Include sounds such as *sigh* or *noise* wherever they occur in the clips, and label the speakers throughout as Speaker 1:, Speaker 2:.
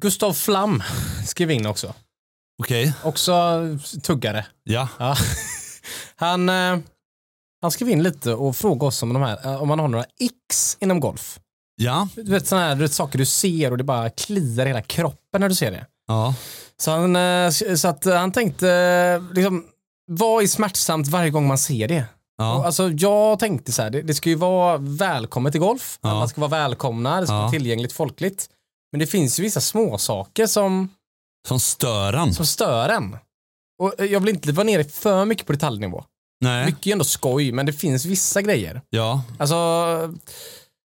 Speaker 1: Gustav Flam *laughs* skrev in också.
Speaker 2: Okej,
Speaker 1: Också tuggare.
Speaker 2: ja.
Speaker 1: Ja. *laughs* Han, eh, han skrev in lite och frågade oss om, de här, eh, om man har några x inom golf.
Speaker 2: Ja.
Speaker 1: Du vet sådana här du vet, saker du ser och det bara kliar i hela kroppen när du ser det.
Speaker 2: ja.
Speaker 1: Så han, eh, så att eh, han tänkte, eh, liksom, vad är smärtsamt varje gång man ser det? Och
Speaker 2: ja.
Speaker 1: Alltså, jag tänkte så här, det, det ska ju vara välkommet till golf,
Speaker 2: Ja.
Speaker 1: alla ska vara välkomna, det ska
Speaker 2: Ja.
Speaker 1: vara tillgängligt folkligt. Men det finns ju vissa små saker som,
Speaker 2: Som stör han.
Speaker 1: som stör en. Och eh, jag vill inte vara nere för mycket på detaljnivå.
Speaker 2: Nej.
Speaker 1: Mycket är ändå skoj, men det finns vissa grejer.
Speaker 2: Ja.
Speaker 1: Alltså,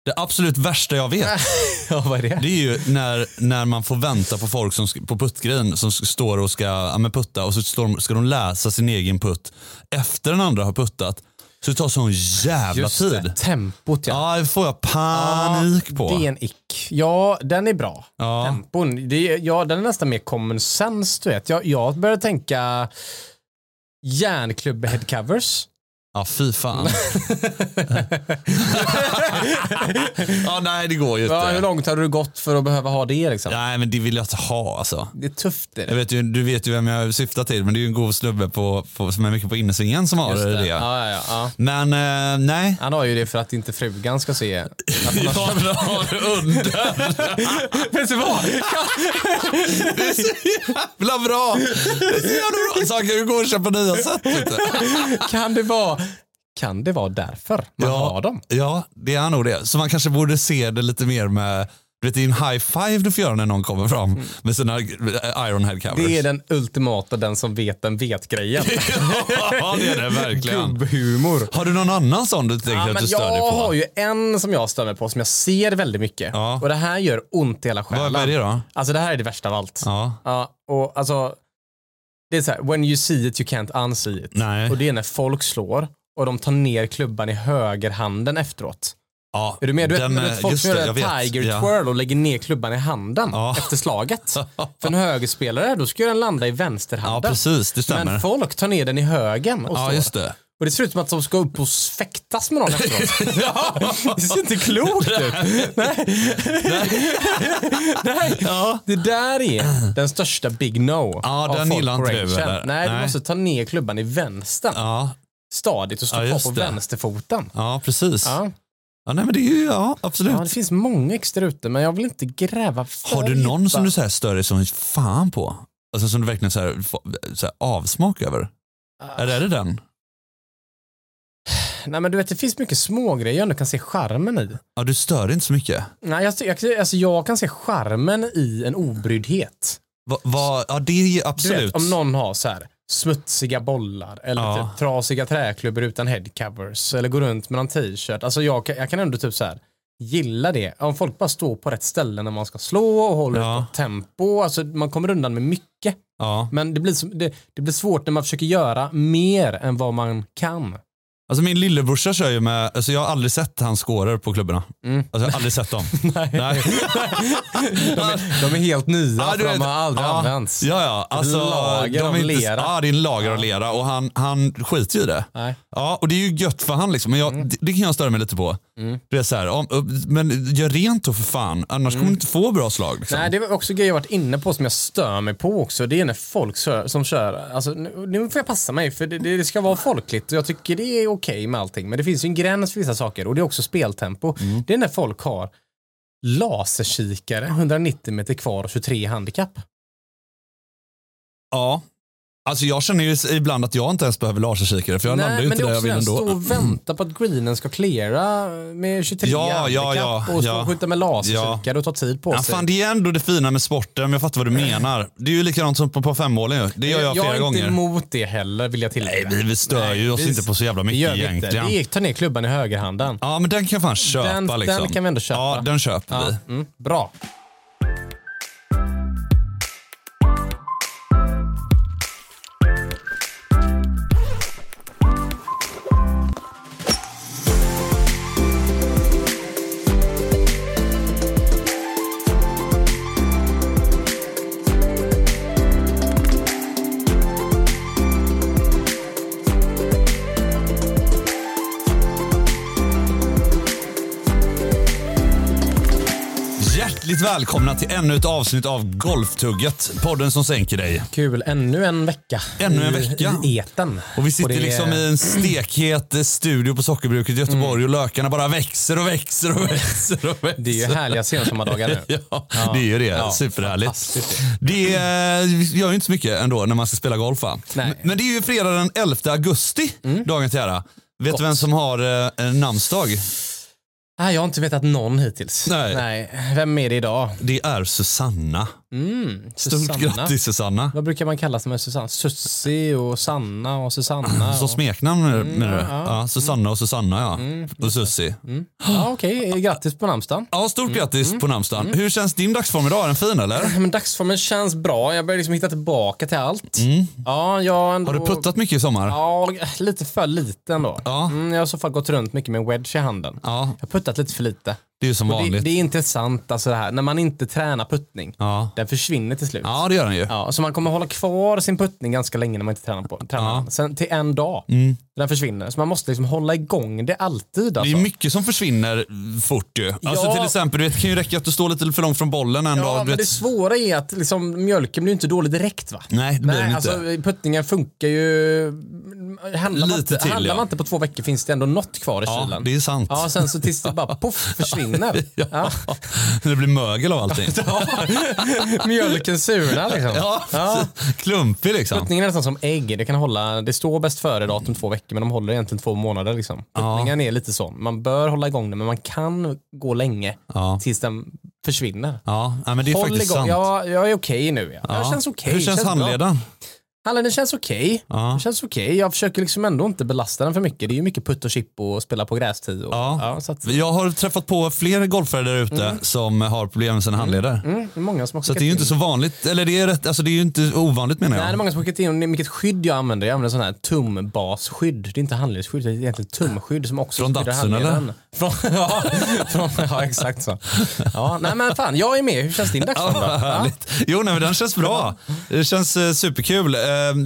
Speaker 2: Det absolut värsta jag vet.
Speaker 1: ja vad är det?
Speaker 2: Det är ju när, när man får vänta på folk som, sk- på puttgrejen som s- står och ska ja, men putta och så står de, ska de läsa sin egen putt efter den andra har puttat. Så det tar sån jävla
Speaker 1: Just
Speaker 2: tid.
Speaker 1: det, tempot ja.
Speaker 2: Ja, det får jag panik på.
Speaker 1: Det är en ick. Ja, den är bra.
Speaker 2: Ja.
Speaker 1: Tempon, det, är- ja, den är nästan mer common sense, du vet. Jag, jag började tänka järnklubb headcovers.
Speaker 2: ja,
Speaker 1: *laughs*
Speaker 2: fy fan. ja, nej, det går ju
Speaker 1: Ja, hur
Speaker 2: inte.
Speaker 1: långt har du gått för att behöva ha det liksom?
Speaker 2: Nej, men det vill jag inte ha alltså.
Speaker 1: Det är tufft det.
Speaker 2: Jag vet ju, du vet ju vem jag syftar till, men det är ju en god snubbe på, på, som är mycket på innersvingen som har
Speaker 1: Just
Speaker 2: det.
Speaker 1: det. Ja, ja, ja.
Speaker 2: Men eh, nej.
Speaker 1: Han har ju det för att inte frugan ska se. Att man
Speaker 2: Ja,
Speaker 1: har...
Speaker 2: men har du under?
Speaker 1: Vet du vad?
Speaker 2: Det är så jävla bra! Det är så jävla bra. Så han kan ju gå och köpa nya set lite.
Speaker 1: Kan det vara, kan det vara därför man
Speaker 2: Ja.
Speaker 1: har dem?
Speaker 2: Ja, det är nog det. Så man kanske borde se det lite mer med, du vet det är en high five du får göra när någon kommer fram med sina Ironhead covers.
Speaker 1: Mm. Det är den ultimata den som vet den *laughs* vet-grejen.
Speaker 2: *laughs* ja, det är det verkligen.
Speaker 1: Gubbhumor.
Speaker 2: Har du någon annan sån du tänker
Speaker 1: Ja,
Speaker 2: att
Speaker 1: men
Speaker 2: du stör dig
Speaker 1: jag har
Speaker 2: på?
Speaker 1: ju en som jag stör mig på som jag ser väldigt mycket.
Speaker 2: Ja.
Speaker 1: Och det här gör ont i hela själen.
Speaker 2: Vad vad är det då?
Speaker 1: Alltså det här är det värsta av allt.
Speaker 2: Ja.
Speaker 1: Ja, och alltså, det är så här, when you see it you can't unsee it.
Speaker 2: Nej.
Speaker 1: Och det är när folk slår och de tar ner klubban i högerhanden efteråt.
Speaker 2: Ja,
Speaker 1: Är du med? Du vet,
Speaker 2: den, eh,
Speaker 1: du vet folk
Speaker 2: just
Speaker 1: som
Speaker 2: det,
Speaker 1: gör en
Speaker 2: jag vet.
Speaker 1: tiger
Speaker 2: Ja.
Speaker 1: twirl och lägger ner klubban i handen
Speaker 2: Ja.
Speaker 1: efter
Speaker 2: *laughs*
Speaker 1: slaget. För en högerspelare, då ska ju den landa i
Speaker 2: Ja,
Speaker 1: vänsterhanden.
Speaker 2: precis. Det stämmer.
Speaker 1: Men folk tar ner den i högen och
Speaker 2: Ja,
Speaker 1: slår.
Speaker 2: just *laughs* det.
Speaker 1: Och det ser ut som att de ska upp och fäktas med någon
Speaker 2: *laughs*
Speaker 1: efteråt. *laughs* Det ser inte klokt ut. Nej.
Speaker 2: *laughs*
Speaker 1: Nej.
Speaker 2: Ja.
Speaker 1: Det där är den största big no.
Speaker 2: Ja,
Speaker 1: av
Speaker 2: den
Speaker 1: folk
Speaker 2: gillar
Speaker 1: på
Speaker 2: inte du,
Speaker 1: rangen.
Speaker 2: eller?
Speaker 1: Nej, du
Speaker 2: Nej.
Speaker 1: måste ta ner klubban i vänstern.
Speaker 2: Ja,
Speaker 1: Stadigt och stå
Speaker 2: Ja,
Speaker 1: kvar
Speaker 2: just
Speaker 1: på
Speaker 2: det.
Speaker 1: vänsterfoten.
Speaker 2: ja precis. Ja.
Speaker 1: Ja.
Speaker 2: nej, men det är ju, ja, absolut.
Speaker 1: ja, det finns många ex där ute men jag vill inte gräva för
Speaker 2: Har du någon
Speaker 1: djupt.
Speaker 2: som du så här stör dig som fan på? Alltså som du verkligen så här, får- så här avsmak över?
Speaker 1: Ah.
Speaker 2: Eller är det den?
Speaker 1: Nej men du vet det finns mycket smågrejer jag ändå kan se charmen i.
Speaker 2: Ja, du stör dig inte så mycket.
Speaker 1: Nej, jag, jag, alltså, jag kan se charmen i en obryddhet.
Speaker 2: Va, va, ja, det är
Speaker 1: Du
Speaker 2: ju
Speaker 1: vet,
Speaker 2: absolut.
Speaker 1: om någon har så här smutsiga bollar eller
Speaker 2: Ja.
Speaker 1: typ trasiga träklubbor utan headcovers eller går runt med någon t-shirt. Alltså jag, kan- jag kan ändå typ så här gilla det. Om folk bara står på rätt ställe när man ska slå och håller
Speaker 2: Ja.
Speaker 1: ett gott tempo. Alltså man kommer undan med mycket.
Speaker 2: ja.
Speaker 1: Men det blir, som- det, det blir svårt när man försöker göra mer än vad man kan.
Speaker 2: Alltså min lillebrorsa kör ju med, alltså jag har aldrig sett hans skåror på klubborna.
Speaker 1: Mm.
Speaker 2: Alltså jag har aldrig sett dem. *laughs* Nej.
Speaker 1: De är, de är helt nya
Speaker 2: Ja,
Speaker 1: för de
Speaker 2: vet.
Speaker 1: har aldrig
Speaker 2: ja,
Speaker 1: använts.
Speaker 2: Ja, ja. Alltså,
Speaker 1: lager
Speaker 2: de
Speaker 1: av
Speaker 2: är inte,
Speaker 1: lera.
Speaker 2: Ja, det är en lager av lera och han, han skiter ju i det.
Speaker 1: Nej.
Speaker 2: Ja, och det är ju gött för han liksom. Men
Speaker 1: Mm.
Speaker 2: jag, det, det kan jag störa mig lite på. Det är så här, om, upp- men gör rent då för fan. Annars kommer du inte få bra slag. Liksom.
Speaker 1: Mm. Nej, det var också grejer jag varit inne på som jag stör mig på också. Det är när folk kör, som kör, alltså nu, nu får jag passa mig för det, det det ska vara folkligt och jag tycker det är okej med allting. Men det finns ju en gräns för vissa saker och det är också speltempo.
Speaker 2: Mm.
Speaker 1: Det är när folk har laserkikare, 190 meter kvar och 23 handikapp.
Speaker 2: Ja. Alltså jag känner ju ibland att jag inte ens behöver laserkikare för jag landar ju
Speaker 1: men
Speaker 2: inte
Speaker 1: det
Speaker 2: där
Speaker 1: är
Speaker 2: jag
Speaker 1: också
Speaker 2: vill
Speaker 1: den,
Speaker 2: ändå.
Speaker 1: stå och vänta på att greenen ska cleara med 23
Speaker 2: Ja, ja,
Speaker 1: handikapp
Speaker 2: ja,
Speaker 1: och stå
Speaker 2: ja.
Speaker 1: och skjuta med laserkikare och ta tid på
Speaker 2: Ja,
Speaker 1: sig.
Speaker 2: fan, det är ändå det fina med sporten, men jag fattar vad du menar. Det är ju likadant som på, på femmålen ju. Det gör jag,
Speaker 1: Mm. jag
Speaker 2: flera
Speaker 1: är
Speaker 2: gånger.
Speaker 1: inte emot det heller vill jag tillägga.
Speaker 2: Nej, vi, vi stör
Speaker 1: Nej,
Speaker 2: ju oss
Speaker 1: vi-
Speaker 2: inte på så jävla
Speaker 1: Det
Speaker 2: mycket
Speaker 1: gör vi inte.
Speaker 2: egentligen.
Speaker 1: Det är, ta ner klubban i högerhanden.
Speaker 2: Ja, men den kan jag fan köpa
Speaker 1: Den- den
Speaker 2: liksom.
Speaker 1: kan vi ändå köpa.
Speaker 2: Ja, den köper vi.
Speaker 1: Ja, mm, bra.
Speaker 2: Hjärtligt Hjärtligt välkomna till ännu ett avsnitt av Golftugget. Podden som sänker dig.
Speaker 1: Kul, ännu en vecka.
Speaker 2: Ännu en
Speaker 1: i-
Speaker 2: vecka.
Speaker 1: I eten.
Speaker 2: Och vi sitter
Speaker 1: det är- Mm.
Speaker 2: liksom i en stekhet eh, studio på Sockerbruket i Göteborg och lökarna bara växer och växer och växer och växer.
Speaker 1: *laughs*
Speaker 2: *laughs*
Speaker 1: Det är ju härliga sensommardagar nu.
Speaker 2: Ja, det är ju det.
Speaker 1: Ja,
Speaker 2: Superhärligt.
Speaker 1: fantastiskt.
Speaker 2: Det eh, gör ju inte så mycket ändå när man ska spela golf. Va?
Speaker 1: Nej. Mm.
Speaker 2: Men- Men det är ju fredag den 11 augusti, dagen till ära. Vet du vem som har eh, namnsdag?
Speaker 1: Nej, jag har inte vetat någon hittills.
Speaker 2: Nej.
Speaker 1: Vem är det idag?
Speaker 2: Det är Susanna.
Speaker 1: Mm,
Speaker 2: Stort
Speaker 1: Susanna.
Speaker 2: grattis Susanna.
Speaker 1: Vad brukar man kalla sig med Susanna? Sussi och Sanna och
Speaker 2: *gasps*
Speaker 1: Susanna.
Speaker 2: Som
Speaker 1: Och...
Speaker 2: smeknamn eh, menar du?
Speaker 1: ja. Mm,
Speaker 2: Ja, Susanna och Susanna ja. Och Sussi.
Speaker 1: Ja, Okej, grattis på namnsdagen.
Speaker 2: Ja, stort grattis
Speaker 1: Mm.
Speaker 2: på namnsdagen. Hur känns din dagsform idag? Är den fin eller?
Speaker 1: Men dagsformen känns bra. Jag börjar liksom hitta tillbaka till allt. Ja, jag har ändå...
Speaker 2: Mm. Har du puttat mycket i sommar?
Speaker 1: Ja, lite för lite ändå.
Speaker 2: Ja.
Speaker 1: Mm, jag har i så fall gått runt mycket med en wedge i handen.
Speaker 2: Ja,
Speaker 1: Jag har puttat lite för lite.
Speaker 2: det är ju som
Speaker 1: Och Det,
Speaker 2: vanligt.
Speaker 1: det är inte sant alltså det här. När man inte tränar puttning,
Speaker 2: Ja.
Speaker 1: den försvinner till slut.
Speaker 2: ja, det gör den ju.
Speaker 1: Ja, så man kommer hålla kvar sin puttning ganska länge när man inte tränar på tränar.
Speaker 2: Ja. Mm.
Speaker 1: den. Sen till en dag. Den försvinner. Så man måste liksom hålla igång det alltid.
Speaker 2: Det
Speaker 1: Alltså.
Speaker 2: är mycket som försvinner fort ju. Alltså
Speaker 1: Ja.
Speaker 2: till exempel, du vet, det kan ju räcka att du står lite för långt från bollen en
Speaker 1: Ja,
Speaker 2: dag. Du
Speaker 1: men
Speaker 2: vet.
Speaker 1: det svåra är att liksom, mjölken blir ju inte dålig direkt va?
Speaker 2: Nej, det blir den inte.
Speaker 1: Alltså, puttningen funkar ju... Handlar, man,
Speaker 2: Lite
Speaker 1: inte,
Speaker 2: till,
Speaker 1: handlar
Speaker 2: ja.
Speaker 1: man inte på två veckor finns det ändå något kvar i
Speaker 2: ja,
Speaker 1: kylen.
Speaker 2: det är sant.
Speaker 1: Ja, sen så tills det
Speaker 2: *laughs*
Speaker 1: bara poff försvinner.
Speaker 2: Ja.
Speaker 1: Ja.
Speaker 2: *laughs* Det blir mögel av
Speaker 1: *laughs*
Speaker 2: allting.
Speaker 1: Mjölken surnar liksom.
Speaker 2: Ja,
Speaker 1: Ja.
Speaker 2: klumpig liksom.
Speaker 1: Puttningen är nästan som ägg. Det, kan hålla, det står bäst före datum två veckor men de håller egentligen två månader. Liksom. Puttningen är lite sån. Man bör hålla igång den men man kan gå länge
Speaker 2: Ja.
Speaker 1: tills den försvinner.
Speaker 2: Ja, nej, men det är
Speaker 1: Håll
Speaker 2: faktiskt
Speaker 1: igång.
Speaker 2: sant.
Speaker 1: Jag, jag är okej nu. Ja.
Speaker 2: Ja.
Speaker 1: Jag känns okej.
Speaker 2: Hur känns,
Speaker 1: bra.
Speaker 2: handleden?
Speaker 1: Handleden känns okej.
Speaker 2: Ja.
Speaker 1: Den känns okej. Jag försöker liksom ändå inte belasta den för mycket. Det är ju mycket putt och chip och spela på grästid. Och,
Speaker 2: Ja.
Speaker 1: så att,
Speaker 2: Jag har träffat på fler golfare där ute som har problem med sina handleder.
Speaker 1: mm, det är många som har
Speaker 2: Så att det är ju inte så vanligt, eller det är, rätt, alltså det är ju inte ovanligt menar jag.
Speaker 1: Nej, det är många som har skickat in vilket skydd jag använder. Jag använder sån här tumbasskydd. Det är inte handledsskydd, det är egentligen tumskydd som också
Speaker 2: Från
Speaker 1: skyddar
Speaker 2: Datsun, eller?
Speaker 1: handleden.
Speaker 2: *laughs*
Speaker 1: Från, ja, *laughs* från, ja, exakt så. Ja, nej men fan, jag är med. Hur känns din dagsform då?
Speaker 2: Ja, härligt. Jo, nej, men den känns bra. Det känns eh, superkul. Eh,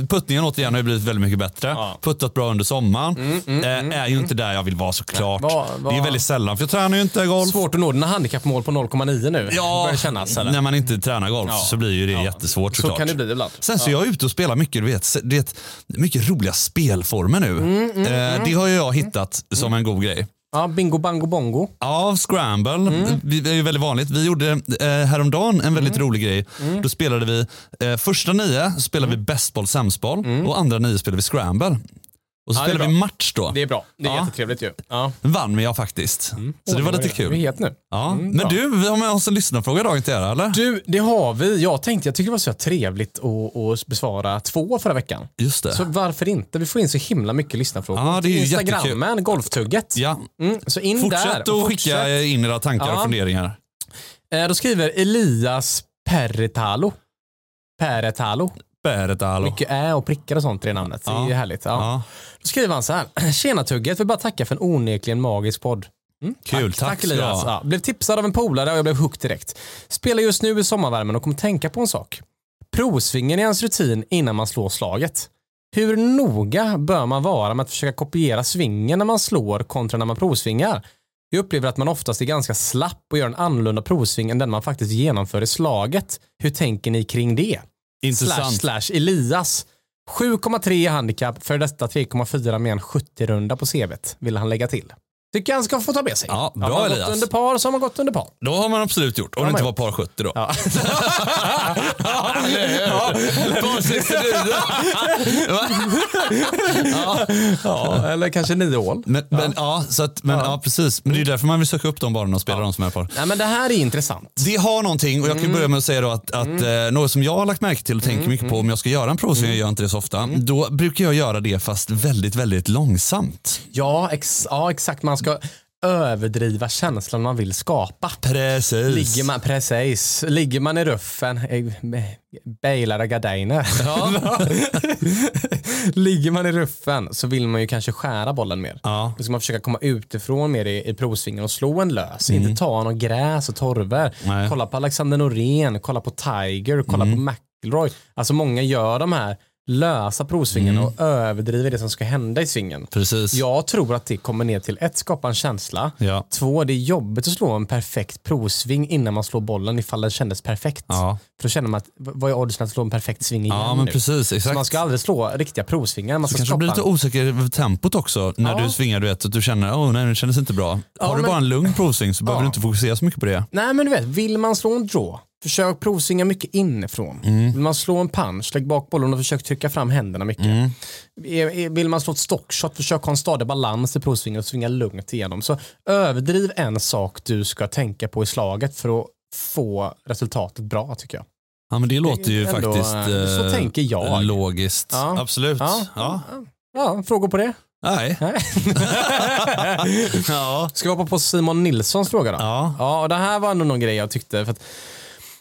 Speaker 2: puttningen återigen har ju blivit väldigt mycket bättre.
Speaker 1: Ja. Mm,
Speaker 2: Puttat bra under sommaren. eh, är ju inte där jag vill vara såklart.
Speaker 1: Nej, vad- vad-
Speaker 2: Det är väldigt sällan, för jag tränar ju inte golf.
Speaker 1: Svårt att nå dina handikappmål på 0,9 nu.
Speaker 2: Ja,
Speaker 1: Börjar det kännas eller?
Speaker 2: när man inte tränar golf
Speaker 1: Ja.
Speaker 2: så blir ju det jättesvårt
Speaker 1: så
Speaker 2: såklart.
Speaker 1: kan det bli ibland.
Speaker 2: Sen så är jag ute och spelar mycket, du vet, det är ett- mycket roliga spelformer nu.
Speaker 1: Mm,
Speaker 2: eh, det har ju jag hittat som en god grej.
Speaker 1: Ja, bingo bango bongo.
Speaker 2: Ja, Scramble.
Speaker 1: Mm.
Speaker 2: Vi, det är ju väldigt vanligt. Vi gjorde eh, häromdagen en väldigt rolig grej.
Speaker 1: Mm.
Speaker 2: Då spelade vi, eh, första nio så spelade vi bäst boll, sämst boll och andra nio spelade vi Scramble. Och så
Speaker 1: Mm. Ja, det är
Speaker 2: spelade vi match då.
Speaker 1: Det är Mm. bra. Det är
Speaker 2: Ja.
Speaker 1: jättetrevligt ju. Ja.
Speaker 2: Vann vi jag faktiskt. Så det var lite
Speaker 1: Vi är
Speaker 2: kul.
Speaker 1: het nu. bra.
Speaker 2: Ja. Men du, vi har med oss en lyssnarfråga idag till er, eller?
Speaker 1: Du, det har vi. Jag tänkte, jag tycker det var så trevligt att, att besvara två förra veckan.
Speaker 2: Just det.
Speaker 1: Så varför inte? Vi får in så himla mycket lyssnarfrågor.
Speaker 2: Ja, det är ju
Speaker 1: Instagrammen,
Speaker 2: jättekul.
Speaker 1: golftugget.
Speaker 2: Ja.
Speaker 1: Mm, så in där.
Speaker 2: Fortsätt att skicka
Speaker 1: Fortsätt.
Speaker 2: in era tankar och
Speaker 1: Ja.
Speaker 2: funderingar.
Speaker 1: Eh, Då skriver Elias Perretalo. Perretalo.
Speaker 2: Bäret allo.
Speaker 1: Mycket ä och prickar och sånt i det namnet. Det är
Speaker 2: Ja.
Speaker 1: ju härligt. Ja.
Speaker 2: Ja.
Speaker 1: Då skriver han så här. *clears throat* Tjena Tugget, vill bara tacka för en onekligen magisk podd. Mm,
Speaker 2: Kul, tack,
Speaker 1: Tack
Speaker 2: ska du
Speaker 1: Elias.
Speaker 2: ha.
Speaker 1: Ja, blev tipsad av en polare och jag blev hooked direkt. Spelar just nu i sommarvärmen och kom tänka på en sak. Provsvingen är ens rutin innan man slår slaget. Hur noga bör man vara med att försöka kopiera svingen när man slår kontra när man provsvingar? Jag upplever att man oftast är ganska slapp och gör en annorlunda provsving än den man faktiskt genomför i slaget. Hur tänker ni kring det? Slash,
Speaker 2: Intressant.
Speaker 1: slash Elias. 7,3 i handikapp, för detta 3,4 med en 70-runda på CVt, vill han lägga till. Tycker han ska få ta med sig.
Speaker 2: Ja, bra,
Speaker 1: Har man
Speaker 2: Elias.
Speaker 1: gått under par så har man gått under par.
Speaker 2: Då har man absolut gjort. Om
Speaker 1: man
Speaker 2: det inte var par 70 då. *laughs*
Speaker 1: Ja.
Speaker 2: Par 69. Va?
Speaker 1: ja, eller kanske nio hål.
Speaker 2: Men, ja. Men, ja, så att, men, ja. precis. Men det är ju därför man vill söka upp de barnen och spela de som är par.
Speaker 1: Nej, men det här är intressant.
Speaker 2: Det har någonting och jag
Speaker 1: Mm.
Speaker 2: kan börja med att säga då att, att eh, något som jag har lagt märke till och tänker mycket
Speaker 1: mm.
Speaker 2: på om jag ska göra en provsving, jag gör inte det så ofta, då brukar jag göra det fast väldigt, väldigt långsamt.
Speaker 1: Ja, ex- ja exakt. Man ska överdriva känslan man vill skapa.
Speaker 2: Precis.
Speaker 1: Ligger man, precis. Ligger man i ruffen, eh, bailade gardiner. *laughs* Ligger man i ruffen så vill man ju kanske skära bollen mer.
Speaker 2: Ja.
Speaker 1: Då ska man försöka komma utifrån mer i, i provsvingen och slå en lös. Inte ta någon gräs och torver.
Speaker 2: Mm. Nej. Mm.
Speaker 1: Kolla på Alexander Norén, kolla på Tiger, kolla på McIlroy. Alltså många gör de här lösa provsvingen
Speaker 2: Mm.
Speaker 1: och överdriver det som ska hända i svingen.
Speaker 2: Precis.
Speaker 1: Jag tror att det kommer ner till ett, skapa en känsla.
Speaker 2: Ja.
Speaker 1: Två, det är jobbigt att slå en perfekt provsving innan man slår bollen ifall den kändes perfekt.
Speaker 2: Ja.
Speaker 1: För då känner man att, v- vad är oddsen att slå en perfekt sving igen
Speaker 2: Ja, men
Speaker 1: nu?
Speaker 2: precis.
Speaker 1: Så
Speaker 2: Exakt.
Speaker 1: man ska aldrig slå riktiga provsvingar. Man ska
Speaker 2: kanske blir
Speaker 1: skapa
Speaker 2: lite
Speaker 1: en-
Speaker 2: osäker över tempot också när
Speaker 1: Ja.
Speaker 2: du svingar du vet att du känner åh nej det kändes inte bra.
Speaker 1: Ja,
Speaker 2: Har du
Speaker 1: men-
Speaker 2: bara en lugn provsving så behöver
Speaker 1: Ja.
Speaker 2: du inte fokusera så mycket på det.
Speaker 1: Nej men du vet, vill man slå en draw, försök provsvinga mycket inifrån. Vill man slå en punch, lägg bak bollen och försök trycka fram händerna mycket. E- e- Vill man slå ett stockshot, försök ha en stadig balans i provsvingen och svinga lugnt igenom. Så överdriv en sak du ska tänka på i slaget för att få resultatet bra tycker jag.
Speaker 2: Ja men det låter ju
Speaker 1: ändå,
Speaker 2: faktiskt
Speaker 1: eh, så
Speaker 2: eh,
Speaker 1: tänker jag.
Speaker 2: logiskt.
Speaker 1: Ja.
Speaker 2: Absolut.
Speaker 1: Ja.
Speaker 2: Ja.
Speaker 1: Ja, frågor på det? *laughs*
Speaker 2: Nej.
Speaker 1: Nej.
Speaker 2: ja.
Speaker 1: Ska vi hoppa på Simon Nilssons fråga då?
Speaker 2: Ja.
Speaker 1: Ja, och det här var ändå någon grej jag tyckte. För att,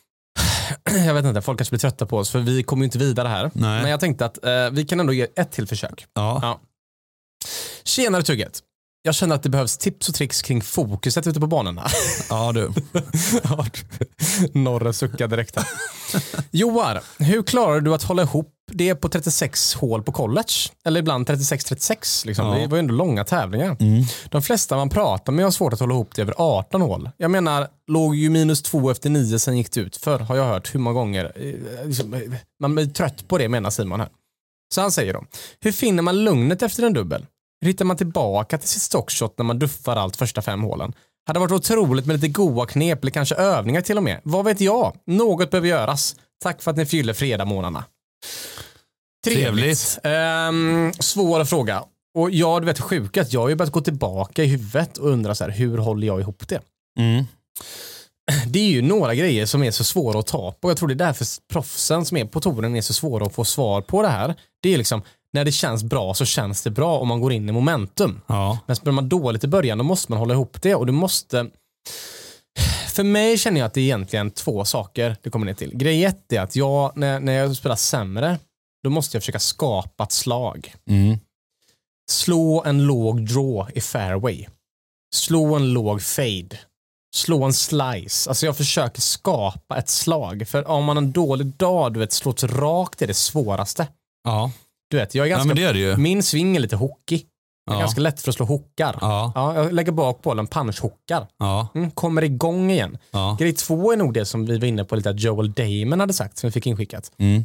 Speaker 1: *clears throat* jag vet inte, folk kanske blir trötta på oss för vi kommer ju inte vidare här.
Speaker 2: Nej.
Speaker 1: Men jag tänkte att eh, vi kan ändå ge ett till försök.
Speaker 2: Ja.
Speaker 1: Tjenare Tugget! Jag känner att det behövs tips och tricks kring fokuset ute på banorna.
Speaker 2: ja du.
Speaker 1: Norre suckar direkt här. Joar, hur klarar du att hålla ihop det på 36 hål på college? Eller ibland 36-36. Liksom.
Speaker 2: Ja.
Speaker 1: Det var ju ändå långa tävlingar. De flesta man pratar med har svårt att hålla ihop det över 18 hål. Jag menar, låg ju minus två efter nio sen gick det ut för har jag hört hur många gånger. Eh, liksom, eh, Man blir trött på det menar Simon här. Så han säger då, hur finner man lugnet efter en dubbel? Hur hittar man tillbaka till sitt stockshot när man duffar allt första fem hålen? Hade varit otroligt med lite goa knep eller kanske övningar till och med. Vad vet jag? Något behöver göras. Tack för att ni fyller fredagsmorgnarna.
Speaker 2: Trevligt.
Speaker 1: Ehm, svår fråga. Och ja, du vet sjuka att jag har ju börjat gå tillbaka i huvudet och undra så här, hur håller jag ihop det?
Speaker 2: Mm.
Speaker 1: Det är ju några grejer som är så svåra att ta på. Jag tror det är därför proffsen som är på touren är så svåra att få svar på det här. Det är liksom, när det känns bra så känns det bra om man går in i momentum.
Speaker 2: Ja.
Speaker 1: Men spelar man dåligt i början då måste man hålla ihop det och du måste... För mig känner jag att det är egentligen två saker det kommer ner till. Grej ett är att jag, när, när jag spelar sämre, då måste jag försöka skapa ett slag.
Speaker 2: Mm.
Speaker 1: Slå en låg draw i fairway. Slå en låg fade. Slå en slice. Alltså jag försöker skapa ett slag. För om man har en dålig dag, du vet, slå ett rakt är det svåraste.
Speaker 2: Ja.
Speaker 1: Du vet, jag är
Speaker 2: ja
Speaker 1: ganska...
Speaker 2: men det är det ju.
Speaker 1: Min sving är lite hockey. Jag är
Speaker 2: Ja.
Speaker 1: ganska lätt för att slå hockar.
Speaker 2: Ja.
Speaker 1: Ja, jag lägger bak bollen, punchhockar.
Speaker 2: Ja.
Speaker 1: Mm, kommer igång igen.
Speaker 2: Ja.
Speaker 1: Grej två är nog det som vi var inne på lite att Joel Damon hade sagt som vi fick inskickat.
Speaker 2: Mm.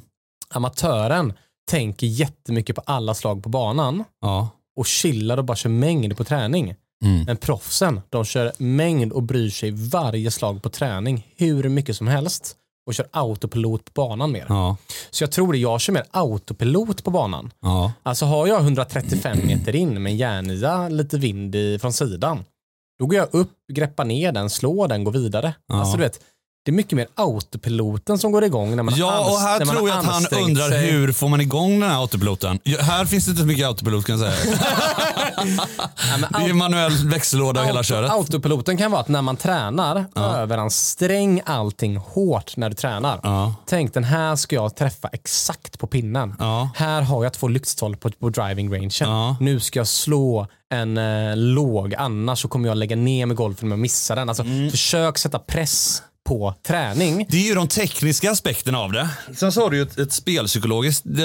Speaker 1: Amatören tänker jättemycket på alla slag på banan
Speaker 2: Ja.
Speaker 1: och chillar och bara kör mängd på träning.
Speaker 2: Mm.
Speaker 1: Men proffsen, de kör mängd och bryr sig varje slag på träning hur mycket som helst och kör autopilot på banan mer.
Speaker 2: Ja.
Speaker 1: Så jag tror det jag kör mer autopilot på banan.
Speaker 2: Ja.
Speaker 1: Alltså har jag 135 meter in med en järnia, lite vind i, från sidan, då går jag upp, greppar ner den, slår den, går vidare.
Speaker 2: Ja.
Speaker 1: Alltså du vet, det är mycket mer autopiloten som går igång när man
Speaker 2: Ja,
Speaker 1: har
Speaker 2: och här
Speaker 1: anst- när man
Speaker 2: tror jag
Speaker 1: har
Speaker 2: att han
Speaker 1: ansträngt
Speaker 2: undrar
Speaker 1: sig.
Speaker 2: hur får man igång den här autopiloten? Ja, här finns det inte så mycket autopilot kan jag
Speaker 1: *laughs*
Speaker 2: säga.
Speaker 1: Ja, men
Speaker 2: Det är ju manuell växellåda och hela
Speaker 1: Auto-
Speaker 2: köret.
Speaker 1: Autopiloten kan vara att när man tränar, överansträng allting hårt när du tränar.
Speaker 2: Ja.
Speaker 1: Tänk den här ska jag träffa exakt på pinnen.
Speaker 2: Ja.
Speaker 1: Här har jag två lyktstolpar på, på driving rangen.
Speaker 2: Ja.
Speaker 1: Nu ska jag slå en eh, låg annars så kommer jag lägga ner med golfen om jag missar den. Alltså,
Speaker 2: Mm.
Speaker 1: Försök sätta press på träning.
Speaker 2: Det är ju de tekniska aspekterna av det. Sen så har du ju ett, ett spelpsykologiskt eh,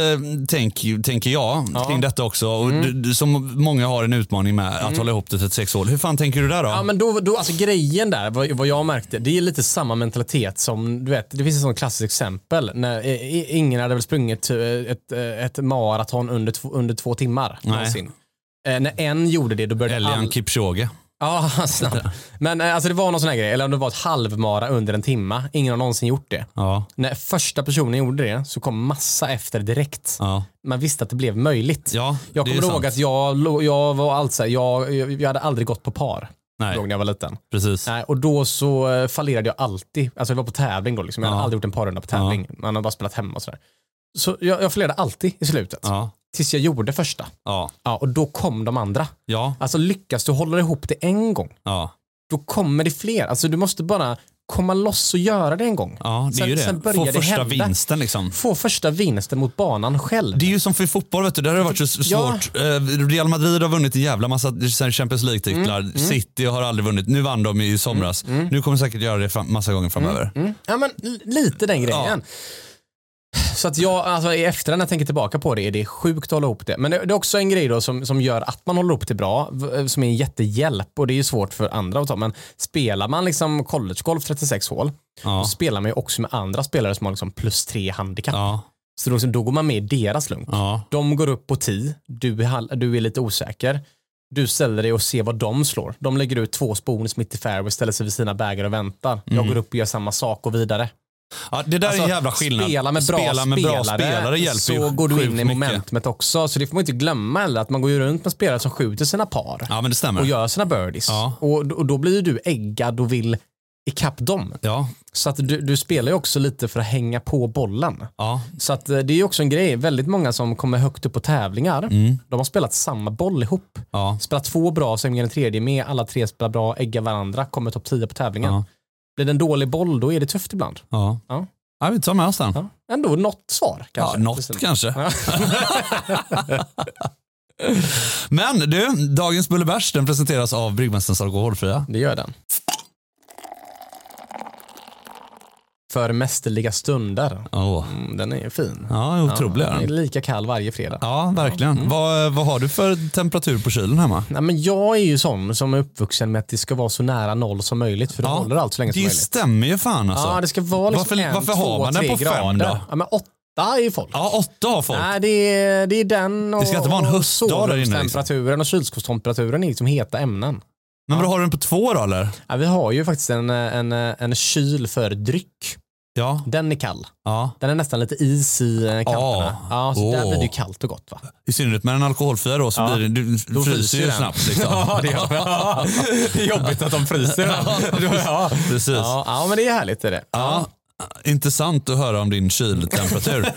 Speaker 2: tänk, tänker jag, kring detta också. Och
Speaker 1: Mm.
Speaker 2: du, du, som många har en utmaning med, att hålla ihop det till ett sex hål. Hur fan tänker du där då?
Speaker 1: Ja, men då, då, alltså, grejen där, vad, vad jag märkte, det är lite samma mentalitet som, du vet, det finns ett sånt klassiskt exempel. När, eh, i- ingen hade väl sprungit eh, ett, eh, ett maraton under, två- under två timmar
Speaker 2: Nej.
Speaker 1: någonsin. Eh, när en gjorde det, då började
Speaker 2: Elian
Speaker 1: all-
Speaker 2: Kipchoge.
Speaker 1: Ja, *laughs* snabbt. Men eh, alltså, det var någon sån här grej, eller om det var ett halvmara under en timma. Ingen har någonsin gjort det.
Speaker 2: Ja,
Speaker 1: När första personen gjorde det så kom massa efter direkt.
Speaker 2: ja,
Speaker 1: Man visste att det blev möjligt.
Speaker 2: ja.
Speaker 1: jag
Speaker 2: det är
Speaker 1: kommer ihåg
Speaker 2: sant.
Speaker 1: att jag, lå- jag var allt så här, jag, jag, jag hade aldrig gått på par.
Speaker 2: Nej,
Speaker 1: Ihåg när jag var liten.
Speaker 2: precis.
Speaker 1: Nej, och då så eh, fallerade jag alltid. Alltså jag var på tävling då, liksom. jag hade
Speaker 2: Ja.
Speaker 1: aldrig gjort en parrunda på tävling. Man har bara spelat hemma och sådär. Så jag, jag fallerade alltid i slutet.
Speaker 2: Ja,
Speaker 1: Tills jag gjorde första.
Speaker 2: ja,
Speaker 1: Ja, och då kom de andra.
Speaker 2: ja,
Speaker 1: Alltså lyckas du hålla ihop det en gång,
Speaker 2: ja.
Speaker 1: då kommer det fler. Alltså du måste bara komma loss och göra det en gång.
Speaker 2: ja det är
Speaker 1: sen,
Speaker 2: ju
Speaker 1: Sen
Speaker 2: det.
Speaker 1: börjar
Speaker 2: Få
Speaker 1: det
Speaker 2: första
Speaker 1: hända.
Speaker 2: vinsten liksom.
Speaker 1: Få första vinsten mot banan själv.
Speaker 2: Det är ju som för fotboll, vet du. där har det varit så s-
Speaker 1: Ja.
Speaker 2: svårt. Eh, Real Madrid har vunnit en jävla massa Champions League-titlar.
Speaker 1: Mm,
Speaker 2: City har aldrig vunnit. Nu vann de i somras.
Speaker 1: Mm,
Speaker 2: Nu kommer de säkert göra det fram- massa gånger framöver.
Speaker 1: Ja men l- lite den grejen. Så att jag, alltså i efterhand när jag tänker tillbaka på det, är det sjukt att hålla ihop det. Men det, det är också en grej då som, som gör att man håller ihop det bra, v- eh, som är en jättehjälp och det är ju svårt för andra att ta. Men spelar man liksom collegegolf 36 hål, då
Speaker 2: Ja.
Speaker 1: spelar man ju också med andra spelare som har liksom plus tre handikapp.
Speaker 2: Ja.
Speaker 1: Så då, liksom, då går man med i deras lunk.
Speaker 2: Ja.
Speaker 1: De går upp på 10, du är, hal- du är lite osäker. Du ställer dig och ser vad de slår. De lägger ut två spons mitt i fairway, ställer sig vid sina bägare och väntar.
Speaker 2: Mm.
Speaker 1: Jag går upp och gör samma sak och vidare.
Speaker 2: ja det där är en
Speaker 1: Alltså,
Speaker 2: jävla skillnad.
Speaker 1: Spela med bra,
Speaker 2: spela med
Speaker 1: spelare,
Speaker 2: bra spelare hjälper
Speaker 1: så
Speaker 2: ju
Speaker 1: går du
Speaker 2: sjukt
Speaker 1: in i
Speaker 2: mycket.
Speaker 1: momentumet också. Så det får man inte glömma heller, att man går ju runt med spelare som skjuter sina par
Speaker 2: Ja men det stämmer.
Speaker 1: och gör sina birdies.
Speaker 2: Ja.
Speaker 1: Och, och då blir ju du äggad och vill ikapp dem.
Speaker 2: Ja.
Speaker 1: Så att du, du spelar ju också lite för att hänga på bollen.
Speaker 2: Ja.
Speaker 1: Så att eh, det är ju också en grej. Väldigt många som kommer högt upp på tävlingar,
Speaker 2: Mm.
Speaker 1: de har spelat samma boll ihop.
Speaker 2: Ja.
Speaker 1: Spelar två bra, sen går den tredje med, alla tre spelar bra, äggar varandra, kommer topp 10 på tävlingen.
Speaker 2: Ja.
Speaker 1: Blir det en dålig boll, då är det tufft ibland.
Speaker 2: Ja.
Speaker 1: Ja.
Speaker 2: ja vi tar med oss den.
Speaker 1: Ja. Ändå något svar kanske.
Speaker 2: Ja, något
Speaker 1: Precis.
Speaker 2: kanske.
Speaker 1: Ja.
Speaker 2: *laughs* Men du, dagens Bullebärs den presenteras av Bryggmästarens Alkoholfria.
Speaker 1: Det gör den. För mästerliga stunder.
Speaker 2: Åh.
Speaker 1: Mm, den är ju fin.
Speaker 2: Ja, otrolig
Speaker 1: den
Speaker 2: är
Speaker 1: är
Speaker 2: den.
Speaker 1: lika kall varje fredag.
Speaker 2: Ja, verkligen. Vad, vad har du för temperatur på kylen hemma?
Speaker 1: Nej, men Mm. jag är ju sån som är uppvuxen med att det ska vara så nära noll som möjligt för då
Speaker 2: Ja,
Speaker 1: håller allt så länge som
Speaker 2: Det
Speaker 1: möjligt.
Speaker 2: stämmer ju fan alltså.
Speaker 1: Ja, det ska vara liksom
Speaker 2: Varför-
Speaker 1: en,
Speaker 2: varför
Speaker 1: två,
Speaker 2: har man den
Speaker 1: tre
Speaker 2: på fem
Speaker 1: grader.
Speaker 2: då?
Speaker 1: Ja, men åtta är ju folk.
Speaker 2: Ja, åtta har folk.
Speaker 1: Nej, det är, det är den och
Speaker 2: Det ska inte vara en
Speaker 1: och
Speaker 2: höstdag där inne, liksom.
Speaker 1: sovrumstemperaturen och kylskåpstemperaturen är liksom heta ämnen.
Speaker 2: Men vad har du den på två då eller?
Speaker 1: Ja, vi har ju faktiskt en, en, en kyl för dryck.
Speaker 2: Ja.
Speaker 1: Den är kall.
Speaker 2: ja.
Speaker 1: Den är nästan lite is i eh, kanterna.
Speaker 2: Ah.
Speaker 1: Ja, så där
Speaker 2: Åh.
Speaker 1: blir det ju kallt och gott va?
Speaker 2: I synnerhet med en alkoholfria då så
Speaker 1: Ja.
Speaker 2: blir det, du fryser
Speaker 1: fryser
Speaker 2: ju
Speaker 1: den.
Speaker 2: snabbt. Liksom.
Speaker 1: *laughs* det är jobbigt att de fryser.
Speaker 2: *laughs*
Speaker 1: ja.
Speaker 2: Precis. Ja.
Speaker 1: Ja, ja, men det är härligt. Är det.
Speaker 2: Intressant att höra om
Speaker 1: *laughs*
Speaker 2: din kyltemperatur.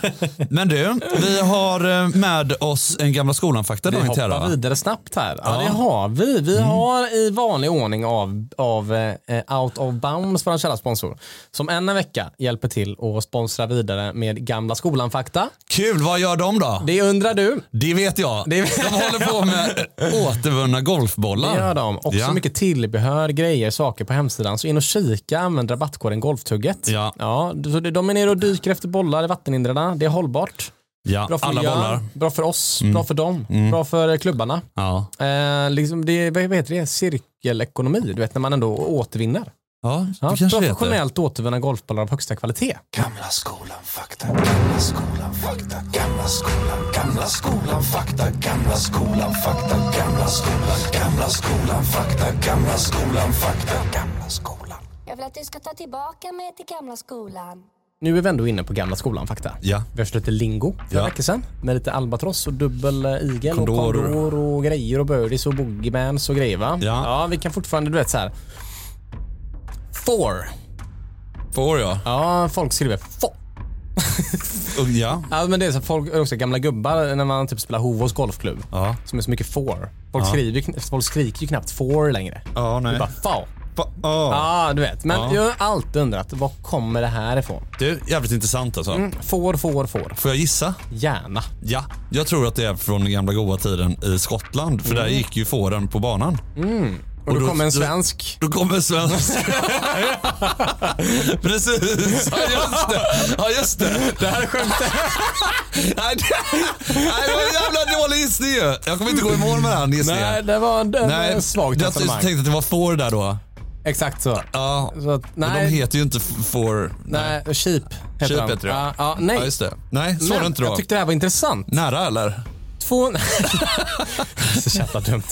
Speaker 2: Men du, vi har eh, med oss en gamla skolan-fakta
Speaker 1: Vi
Speaker 2: dagen till
Speaker 1: hoppar
Speaker 2: ära. va?
Speaker 1: vidare snabbt här. Ja, det har vi. Vi
Speaker 2: Mm.
Speaker 1: har i vanlig ordning av, av eh, Out of Bounds, vår källarsponsor, som än en vecka hjälper till att sponsra vidare med Gamla Skolan-fakta.
Speaker 2: Kul, vad gör de då?
Speaker 1: Det undrar du.
Speaker 2: Det vet jag.
Speaker 1: Det-
Speaker 2: De håller
Speaker 1: *laughs*
Speaker 2: på med återvunna golfbollar.
Speaker 1: Det gör de. Också
Speaker 2: Ah. Ja.
Speaker 1: mycket tillbehör, grejer, saker på hemsidan. Så in och kika, använd rabattkoden Golftugget.
Speaker 2: Ja.
Speaker 1: Ja, så det- de är nere och dyker efter bollar i vattenhindrarna. Det är hållbart.
Speaker 2: Ja,
Speaker 1: Bra för
Speaker 2: alla
Speaker 1: miljön,
Speaker 2: bollar. Mm.
Speaker 1: Bra för oss, bra för dem, bra för klubbarna.
Speaker 2: Ja.
Speaker 1: Eh, liksom det, vad heter det? Cirkelekonomi, du vet när man ändå återvinner.
Speaker 2: Ja,
Speaker 1: Ja,
Speaker 2: det kanske det heter.
Speaker 1: professionellt återvunna golfbollar av högsta kvalitet.
Speaker 3: Gamla skolan fakta, gamla skolan fakta, gamla skolan, gamla skolan fakta, gamla skolan fakta, gamla skolan, gamla skolan fakta, gamla skolan fakta, gamla skolan.
Speaker 4: Jag vill att du ska ta tillbaka mig till gamla skolan.
Speaker 1: Nu är vi ändå inne på gamla skolan fakta.
Speaker 2: Ja.
Speaker 1: Vi har kört lite lingo för
Speaker 2: Ja.
Speaker 1: ja. veckor sedan med lite albatross och dubbel eh, igel
Speaker 2: Kondor.
Speaker 1: och kondor och grejer och birdies och boogiemans och grejer va?
Speaker 2: Ja.
Speaker 1: ja, vi kan fortfarande, du vet så här. Four.
Speaker 2: Får jag?
Speaker 1: Ja, folk skriver four.
Speaker 2: Och- Ja.
Speaker 1: Ja, men det är så folk är också gamla gubbar när man typ spelar Hovås golfklubb.
Speaker 2: Ja.
Speaker 1: Som är så mycket four. Folk, skriver, ju kn- folk skriker ju knappt four längre.
Speaker 2: Ja, nej.
Speaker 1: Det är bara four.
Speaker 2: Fa- ja.
Speaker 1: Ja, du vet. Men jag har alltid undrat, var kommer det här ifrån?
Speaker 2: Du, jävligt intressant alltså.
Speaker 1: Får, får, får.
Speaker 2: Får jag gissa?
Speaker 1: Gärna.
Speaker 2: Ja, jag tror att det är från den gamla goda tiden i Skottland. För
Speaker 1: Mm.
Speaker 2: där gick ju fåren på banan.
Speaker 1: Och,
Speaker 2: då-
Speaker 1: då kommer en
Speaker 2: då-
Speaker 1: svensk.
Speaker 2: Då kommer en svensk. *laughs* Precis, ja just det. Ja, just det.
Speaker 1: Det här är skämtet.
Speaker 2: *laughs* Nej, det, nej, det var en jävla dålig gissning ju. Jag kommer inte gå i mål med den gissningen.
Speaker 1: Nej, det var en, en svagt
Speaker 2: jag
Speaker 1: resonemang.
Speaker 2: tänkte att det var får där då.
Speaker 1: Exakt så.
Speaker 2: Ja,
Speaker 1: så att,
Speaker 2: men de
Speaker 1: nej,
Speaker 2: heter ju inte f- får.
Speaker 1: nej, cheap heter
Speaker 2: Cheap
Speaker 1: de.
Speaker 2: heter det.
Speaker 1: Ja, ja, nej.
Speaker 2: Ja, just det. Nej, så var det
Speaker 1: Men
Speaker 2: inte då.
Speaker 1: jag tyckte det här var intressant.
Speaker 2: Nära eller?
Speaker 1: Två... *laughs* så jävla dumt.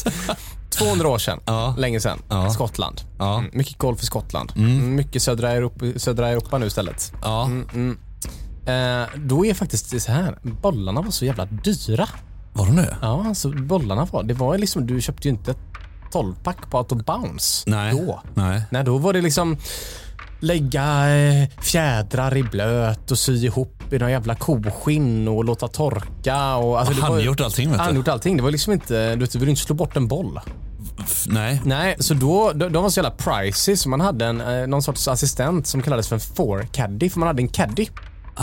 Speaker 1: 200 år sedan, länge sedan, Skottland.
Speaker 2: Ja.
Speaker 1: Mm, mycket golf i Skottland. Mm, Mycket södra Europa, södra Europa nu istället. Mm,
Speaker 2: Ja.
Speaker 1: Eh, då är faktiskt det så här, bollarna var så jävla dyra.
Speaker 2: Var det nu?
Speaker 1: Ja, alltså bollarna var, det var liksom, du köpte ju inte ett 12-pack på Out of Bounce
Speaker 2: Nej.
Speaker 1: då.
Speaker 2: Nej.
Speaker 1: Nej, då var det liksom lägga eh, fjädrar i blöt och sy ihop i någon jävla koskinn och låta torka. Och, alltså, det var-
Speaker 2: Han gjort allting vet
Speaker 1: Han
Speaker 2: du.
Speaker 1: gjort allting. Det var liksom inte, du vet, du ville inte slå bort en boll.
Speaker 2: F- Nej.
Speaker 1: Nej, så då, de, de var så jävla pricey så man hade en, eh, någon sorts assistent som kallades för en four caddy, för man hade en caddy.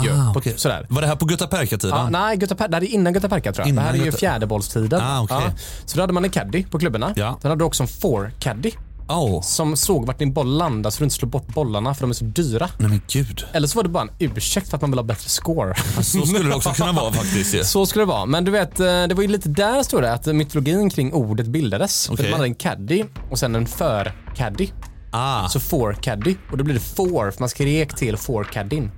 Speaker 1: ju,
Speaker 2: Ah,
Speaker 1: på-
Speaker 2: okej.
Speaker 1: sådär. Ah,
Speaker 2: Var det här på Gutta
Speaker 1: Ja,
Speaker 2: Perka-tiden?
Speaker 1: nej, Göta Per, det här är innan Göta Perka tror jag.
Speaker 2: Innan
Speaker 1: det här är ju
Speaker 2: Göta-
Speaker 1: fjärdebollstiden.
Speaker 2: Ah, okej.
Speaker 1: Så då hade man en caddy på klubborna.
Speaker 2: Ja.
Speaker 1: Sen hade du också en four caddy.
Speaker 2: Au.
Speaker 1: som såg vart din boll landade så du inte slår bort bollarna för de är så dyra.
Speaker 2: Nej men gud.
Speaker 1: Eller så var det bara en ursäkt för att man vill ha bättre score.
Speaker 2: Så skulle det också kunna vara faktiskt ju.
Speaker 1: Så skulle det vara. Men du vet, eh, det var ju lite där stod det att mytologin kring ordet bildades. För
Speaker 2: Okej.
Speaker 1: att man hade en caddy och sen en för-caddy.
Speaker 2: Ah,
Speaker 1: Så four caddy. Och då blir det four, för man skrek till four caddyn.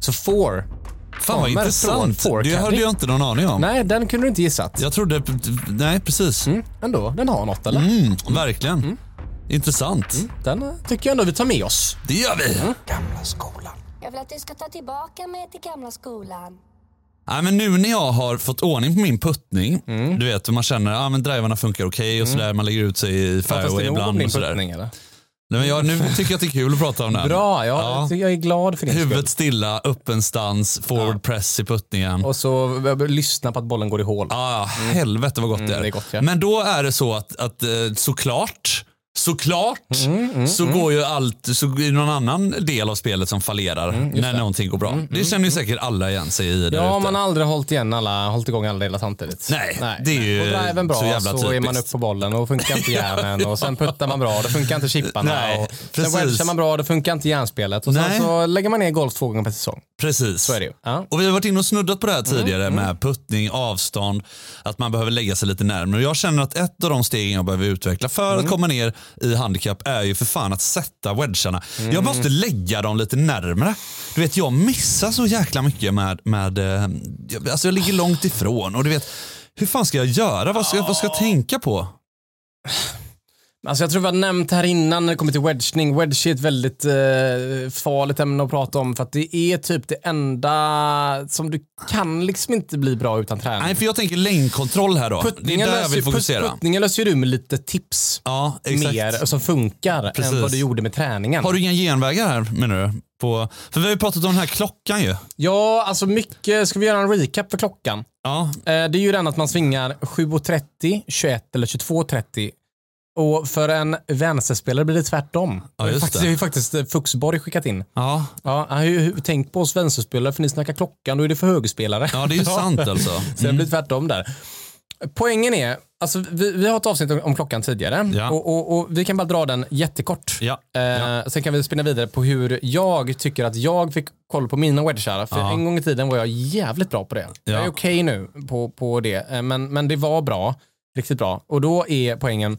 Speaker 1: Så four.
Speaker 2: fan vad
Speaker 1: kommer från
Speaker 2: intressant.
Speaker 1: four
Speaker 2: Det hade
Speaker 1: caddy.
Speaker 2: jag inte någon aning om.
Speaker 1: Nej, den kunde du inte gissat.
Speaker 2: Jag trodde... Nej, precis. Mm,
Speaker 1: Ändå, den har något eller?
Speaker 2: verkligen.
Speaker 1: Mm.
Speaker 2: Intressant.
Speaker 1: Den eh, tycker jag ändå vi tar med oss.
Speaker 2: Det gör vi.
Speaker 1: Mm.
Speaker 3: gamla skolan.
Speaker 4: Jag vill att du ska ta tillbaka mig till gamla skolan.
Speaker 2: Nej, men nu när jag har fått ordning på min puttning,
Speaker 1: Mm.
Speaker 2: du vet hur man känner att ah, men drivarna funkar okej och sådär, man lägger ut sig i
Speaker 1: Fattas
Speaker 2: fairway
Speaker 1: Mm. det nog om
Speaker 2: ibland
Speaker 1: din
Speaker 2: och sådär. Nej,
Speaker 1: puttning eller?
Speaker 2: men jag, nu tycker jag att det är kul att prata om den.
Speaker 1: Bra, ja,
Speaker 2: Ja.
Speaker 1: jag är glad för din skull.
Speaker 2: Huvudet stilla, öppen stans, forward press i puttningen.
Speaker 1: Och så eh, lyssna på att bollen går i hål.
Speaker 2: Ah, helvete vad gott det är.
Speaker 1: Mm. det är gott, ja.
Speaker 2: Men då är det så att, att eh, såklart, såklart,
Speaker 1: Mm,
Speaker 2: så går ju allt, så är det någon annan del av spelet som fallerar
Speaker 1: Mm,
Speaker 2: när någonting går bra. det känner ju säkert alla igen sig i där
Speaker 1: Ja,
Speaker 2: ute.
Speaker 1: man har aldrig hållit, igen alla, hållit igång alla delar samtidigt.
Speaker 2: Nej, det är ju
Speaker 1: Och driven bra
Speaker 2: så
Speaker 1: så,
Speaker 2: jävla
Speaker 1: är man
Speaker 2: typiskt.
Speaker 1: upp på bollen och funkar inte järnen och sen puttar man bra, då funkar inte chipparna.
Speaker 2: Nej,
Speaker 1: och sen
Speaker 2: precis.
Speaker 1: wedgar man bra, då funkar inte järnspelet. Och
Speaker 2: Nej.
Speaker 1: sen så lägger man ner golf två gånger per säsong.
Speaker 2: Precis.
Speaker 1: Så är det ju. Ja. Mm.
Speaker 2: Och vi har varit inne och snuddat på det här tidigare med puttning, avstånd, att man behöver lägga sig lite närmare. Jag känner att ett av de stegen jag behöver utveckla för
Speaker 1: Mm.
Speaker 2: att komma ner i handikapp är ju för fan att sätta wedgarna.
Speaker 1: Mm.
Speaker 2: Jag måste lägga dem lite närmare. Du vet, jag missar så jäkla mycket med, med eh, jag- alltså jag ligger långt ifrån och du vet, hur fan ska jag göra? Vad ska, vad ska jag tänka på?
Speaker 1: Alltså jag tror vi har nämnt här innan när det kommer till wedgning. Wedge är ett väldigt eh, farligt ämne att prata om för att det är typ det enda som du kan liksom inte bli bra utan träning.
Speaker 2: Nej, för jag tänker längdkontroll här då. det är
Speaker 1: Puttningen
Speaker 2: där jag
Speaker 1: löser,
Speaker 2: vill
Speaker 1: ju-
Speaker 2: fokusera.
Speaker 1: put- puttningen löser ju du med lite tips.
Speaker 2: Ja, exakt.
Speaker 1: mer som funkar
Speaker 2: Precis.
Speaker 1: än vad du gjorde med träningen.
Speaker 2: Har du inga genvägar här menar du? På, för vi har ju pratat om den här klockan ju.
Speaker 1: Ja, alltså mycket. Ska vi göra en recap för klockan?
Speaker 2: Ja,
Speaker 1: Eh, det är ju den att man svingar 7.30, 21 eller 22.30. Och för en vänsterspelare blir det tvärtom.
Speaker 2: Ja, just
Speaker 1: faktiskt,
Speaker 2: det.
Speaker 1: det har ju faktiskt eh, Fuxborg skickat in.
Speaker 2: ja.
Speaker 1: Ja, han har ju- hur- tänk på oss vänsterspelare för ni snackar klockan, då är det för högerspelare. *laughs*
Speaker 2: ja det är ju sant alltså.
Speaker 1: Så det blir tvärtom där. Poängen är, alltså, vi, vi har ett avsnitt om, om klockan tidigare
Speaker 2: Ja.
Speaker 1: och, och, och vi kan bara dra den jättekort.
Speaker 2: Ja,
Speaker 1: Eh,
Speaker 2: ja.
Speaker 1: Sen kan vi spinna vidare på hur jag tycker att jag fick koll på mina wedgar. För en gång i tiden var jag jävligt bra på det. Jag är
Speaker 2: Ja.
Speaker 1: okej nu på, på det, eh, men, men det var bra. Riktigt bra. Och då är poängen,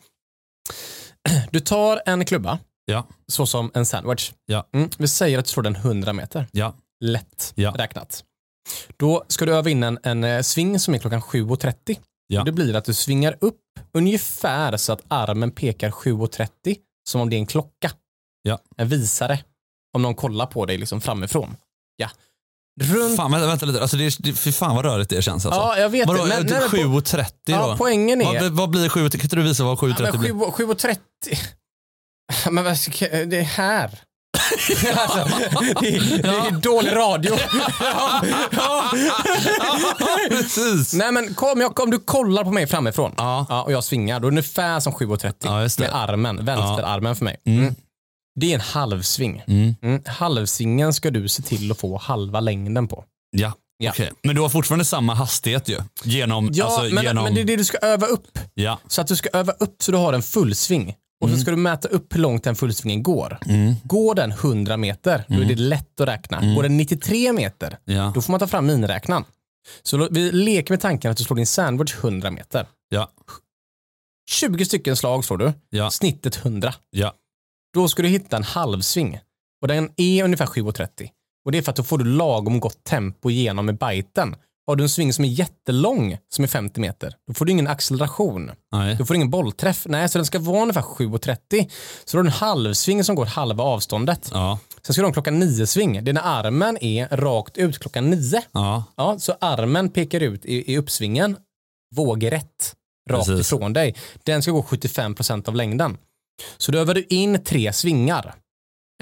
Speaker 1: *clears throat* du tar en klubba,
Speaker 2: Ja,
Speaker 1: så som en sandwich.
Speaker 2: Ja.
Speaker 1: Mm, vi säger att du slår den 100 meter
Speaker 2: ja,
Speaker 1: lätt
Speaker 2: Ja.
Speaker 1: räknat. Då ska du öva in en, en eh, sving som är klockan 7.30.
Speaker 2: Ja.
Speaker 1: Det blir att du svingar upp ungefär så att armen pekar 7.30 som om det är en klocka.
Speaker 2: Ja.
Speaker 1: En visare. Om någon kollar på dig liksom framifrån. Ja. Runt...
Speaker 2: Fan, vänta, vänta lite. Alltså, det är, det, fy fan vad rörigt det känns alltså.
Speaker 1: Mm. Ja, jag vet
Speaker 2: Vadå,
Speaker 1: det. Men,
Speaker 2: det är
Speaker 1: nej, men
Speaker 2: 7.30 då?
Speaker 1: ja, poängen är...
Speaker 2: vad, vad blir 7? Kan inte du visa vad 7.30
Speaker 1: men
Speaker 2: *laughs* blir?
Speaker 1: 7 och- 7.30. *laughs* Men vad ska, det är här. *laughs* alltså, det, *laughs* är, det är dålig *laughs* radio. ja, ja.
Speaker 2: Precis.
Speaker 1: Nej men kom, jag, om du kollar på mig framifrån
Speaker 2: Ja.
Speaker 1: och jag svingar, då är det ungefär som 7.30
Speaker 2: Ja, just det.
Speaker 1: med armen, vänsterarmen för mig. Mm. Det är en halvsving.
Speaker 2: Mm.
Speaker 1: Mm. Halvsvingen ska du se till att få halva längden på.
Speaker 2: Ja.
Speaker 1: Ja.
Speaker 2: Okej. Men du har fortfarande samma hastighet ju. Genom,
Speaker 1: Ja,
Speaker 2: alltså,
Speaker 1: men,
Speaker 2: genom...
Speaker 1: men det är det du ska öva upp.
Speaker 2: Ja.
Speaker 1: Så att du ska öva upp så du har en fullsving. Och
Speaker 2: Mm.
Speaker 1: så ska du mäta upp hur långt den fullsvingen går. Går den 100 meter, då är det lätt att räkna. Går den 93 meter,
Speaker 2: Mm. Ja.
Speaker 1: då får man ta fram miniräknaren. Så lo- vi leker med tanken att du slår din sandwich 100 meter.
Speaker 2: Ja.
Speaker 1: 20 stycken slag slår du,
Speaker 2: Ja.
Speaker 1: snittet 100.
Speaker 2: Ja.
Speaker 1: Då ska du hitta en halvsving. Och den är ungefär 7,30. Och det är för att då får du lagom gott tempo igenom med biten. Har du en sving som är jättelång, som är 50 meter, då får du ingen acceleration.
Speaker 2: Nej.
Speaker 1: Då får du ingen bollträff. Nej, så den ska vara ungefär 7,30. Så då har du en halvsving som går halva avståndet.
Speaker 2: Ja.
Speaker 1: Sen ska du ha en klockan nio-sving. Det är när armen är rakt ut klockan nio.
Speaker 2: Ja.
Speaker 1: Ja, så armen pekar ut i, i uppsvingen, vågrätt, rakt
Speaker 2: Precis.
Speaker 1: ifrån dig. Den ska gå 75% av längden. Så då övar du in tre svingar.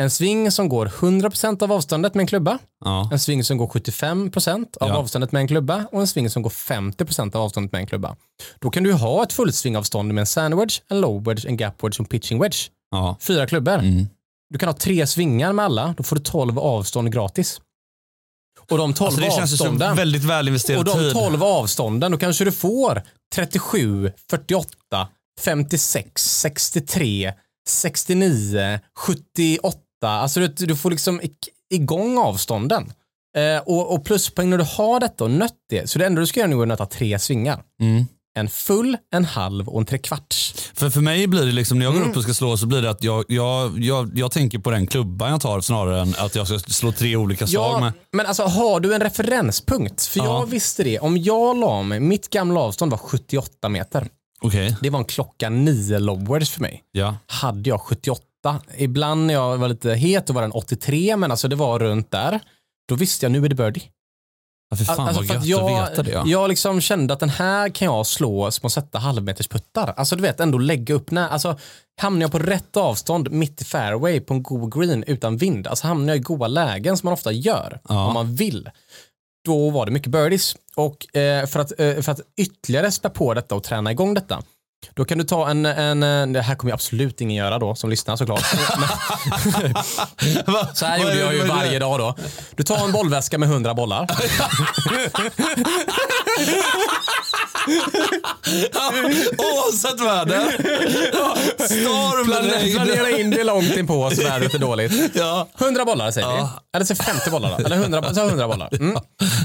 Speaker 1: En sving som går 100% av avståndet med en klubba,
Speaker 2: Ja.
Speaker 1: en sving som går 75% av
Speaker 2: Ja.
Speaker 1: avståndet med en klubba och en sving som går 50% av avståndet med en klubba. Då kan du ju ha ett fullsvingavstånd med en sandwich, en low wedge, en gap wedge och en pitching wedge.
Speaker 2: Ja.
Speaker 1: Fyra klubbor.
Speaker 2: Mm.
Speaker 1: Du kan ha tre svingar med alla, då får du 12 avstånd gratis. Och de 12
Speaker 2: Alltså, det känns ju som
Speaker 1: avstånden...
Speaker 2: väldigt
Speaker 1: Och
Speaker 2: välinvesterad
Speaker 1: de
Speaker 2: tid.
Speaker 1: 12 avstånden, då kanske du får 37, 48, 56, 63, 69, 78. Alltså du, vet, du får liksom i- igång avstånden. Eh, och, och pluspoäng när du har detta och nött det. Så det enda du ska göra nu är att nöta tre svingar.
Speaker 2: Mm.
Speaker 1: En full, en halv och en trekvarts.
Speaker 2: För, för mig blir det liksom, när jag
Speaker 1: Mm.
Speaker 2: går upp och ska slå så blir det att jag, jag, jag, jag tänker på den klubban jag tar snarare än att jag ska slå tre olika slag
Speaker 1: Ja,
Speaker 2: med.
Speaker 1: men alltså har du en referenspunkt? För
Speaker 2: Ja.
Speaker 1: jag visste det. Om jag la mig, mitt gamla avstånd var 78 meter.
Speaker 2: Okej,
Speaker 1: Det var en klocka nio lobwards för mig.
Speaker 2: ja.
Speaker 1: hade jag 78. Ibland när jag var lite het då var den 83, men alltså det var runt där. Då visste jag nu är det birdie.
Speaker 2: ja för fan
Speaker 1: alltså
Speaker 2: vad
Speaker 1: för
Speaker 2: gött
Speaker 1: att
Speaker 2: att veta det. Ja.
Speaker 1: Jag liksom kände att den här kan jag slå små sätta halvmetersputtar. Alltså du vet, ändå lägga upp när, alltså hamnar jag på rätt avstånd mitt i fairway på en god green utan vind, alltså hamnar jag i goda lägen som man ofta gör
Speaker 2: Ja.
Speaker 1: om man vill. Då var det mycket birdies. Och eh, för, att, eh, för att ytterligare spä på detta och träna igång detta, då kan du ta en, en, en det här kommer ju absolut ingen göra då som lyssnar
Speaker 2: *laughs*
Speaker 1: såklart.
Speaker 2: *laughs* Va?
Speaker 1: Så här
Speaker 2: Vad är
Speaker 1: gjorde
Speaker 2: det-
Speaker 1: jag ju
Speaker 2: vad är det?
Speaker 1: varje dag då. Du tar en bollväska med 100 bollar. *laughs*
Speaker 2: Oavsett väder. Storm,
Speaker 1: Planera,
Speaker 2: regn.
Speaker 1: planera in det långt inpå så det är lite dåligt. *laughs*
Speaker 2: Ja.
Speaker 1: 100 bollar säger vi. Eller så 50 bollar då. Eller 100, så 100 bollar. Mm.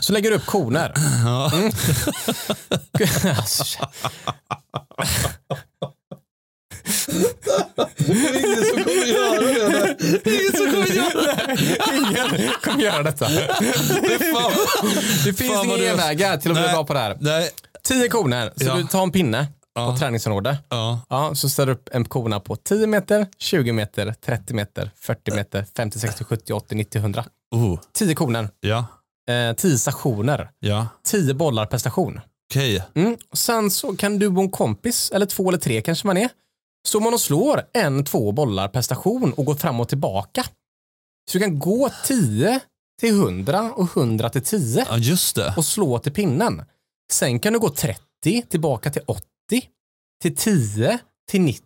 Speaker 1: Så lägger du upp koner. Mm. *laughs* Alltså,
Speaker 2: Ingen som kommer göra *laughs* det. Ingen som kommer göra det.
Speaker 1: ingen kommer göra detta.
Speaker 2: Fan.
Speaker 1: Det finns
Speaker 2: Fan,
Speaker 1: inga
Speaker 2: vad du-
Speaker 1: genvägar till att bli
Speaker 2: Nej.
Speaker 1: bra på det här.
Speaker 2: Nej.
Speaker 1: 10 koner. Så
Speaker 2: Ja.
Speaker 1: du tar en pinne
Speaker 2: Ja.
Speaker 1: på träningsområde.
Speaker 2: Ja.
Speaker 1: Ja, så ställer du upp en kona på 10 meter, 20 meter, 30 meter, 40 meter, 50, 60, 70, 80, 90, 100.
Speaker 2: Oh.
Speaker 1: 10 koner.
Speaker 2: Ja.
Speaker 1: Eh, 10 stationer.
Speaker 2: Ja.
Speaker 1: 10 bollar per station.
Speaker 2: Okej.
Speaker 1: Mm. Och sen så kan du och en kompis, eller två eller tre kanske man är, står man och slår en, två bollar per station och går fram och tillbaka. Så du kan gå 10 till 100 och 100 till 10
Speaker 2: Ja, just det.
Speaker 1: och slå till pinnen. Sen kan du gå 30 tillbaka till 80 till 10 till 90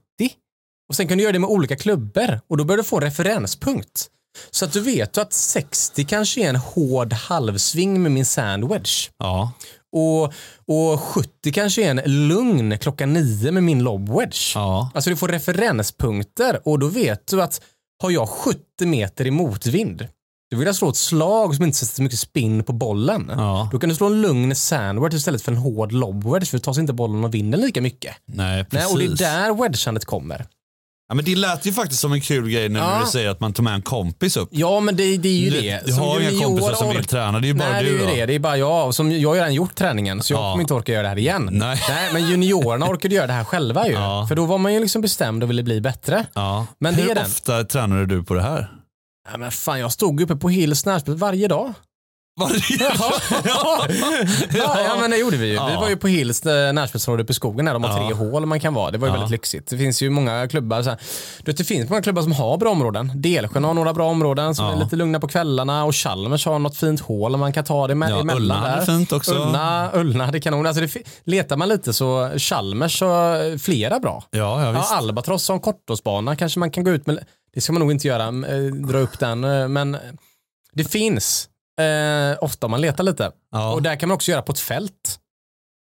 Speaker 1: och sen kan du göra det med olika klubbor och då börjar du få en referenspunkt. Så att du vet att 60 kanske är en hård halvsving med min sandwedge.
Speaker 2: Ja.
Speaker 1: Och, och 70 kanske är en lugn klockan 9 med min lobwedge.
Speaker 2: Ja.
Speaker 1: Alltså du får referenspunkter och då vet du att har jag 70 meter i motvind, då vill jag slå ett slag som inte sätter så mycket spinn på bollen.
Speaker 2: Ja.
Speaker 1: Då kan du slå en lugn sandwedge istället för en hård lobwedge för då tar sig inte bollen och vinner lika mycket.
Speaker 2: Nej,
Speaker 1: Nej,
Speaker 2: precis.
Speaker 1: och det är där wedgeandet kommer.
Speaker 2: ja, men det lät ju faktiskt som en kul grej när
Speaker 1: Ja.
Speaker 2: du säger att man tar med en kompis upp.
Speaker 1: Ja men det, det är ju
Speaker 2: Du-
Speaker 1: det.
Speaker 2: Du har ju inga kompisar som vill
Speaker 1: orkar-
Speaker 2: träna. Det är ju bara
Speaker 1: Nej,
Speaker 2: du.
Speaker 1: det är
Speaker 2: va?
Speaker 1: ju det. Det är bara jag. Som, jag har ju redan gjort träningen, så jag
Speaker 2: Ja.
Speaker 1: kommer inte orka göra det här igen. *laughs*
Speaker 2: Nej.
Speaker 1: men juniorerna orkade göra det här själva ju.
Speaker 2: Ja.
Speaker 1: För då var man ju liksom bestämd och ville bli bättre.
Speaker 2: Ja.
Speaker 1: Men det
Speaker 2: Hur
Speaker 1: är den.
Speaker 2: ofta tränade du på det här?
Speaker 1: Ja, men fan, jag stod uppe på Hills närspel varje dag.
Speaker 2: Varje
Speaker 1: *laughs* ja. ja, men det gjorde vi ju. Vi
Speaker 2: Ja.
Speaker 1: var ju på Hills eh, närspelsområde uppe i skogen här. De har
Speaker 2: Ja.
Speaker 1: tre hål man kan vara. Det var ju
Speaker 2: Ja.
Speaker 1: väldigt lyxigt. Det finns ju många klubbar. Så här. Du vet, det finns många klubbar som har bra områden. Delsjön har några bra områden som
Speaker 2: Ja.
Speaker 1: är lite lugna på kvällarna och Chalmers har något fint hål man kan ta det med,
Speaker 2: Ja,
Speaker 1: emellan
Speaker 2: Ullna
Speaker 1: där.
Speaker 2: är fint också.
Speaker 1: Ullna, Ullna det är kanon. Alltså det, fi- letar man lite så Chalmers har flera bra.
Speaker 2: Ja, ja,
Speaker 1: Ja,
Speaker 2: visst.
Speaker 1: Albatross som kortåsbana kanske man kan gå ut med. Det ska man nog inte göra, eh, dra upp den, eh, men det finns eh, ofta om man letar lite.
Speaker 2: Ja.
Speaker 1: Och där kan man också göra på ett fält.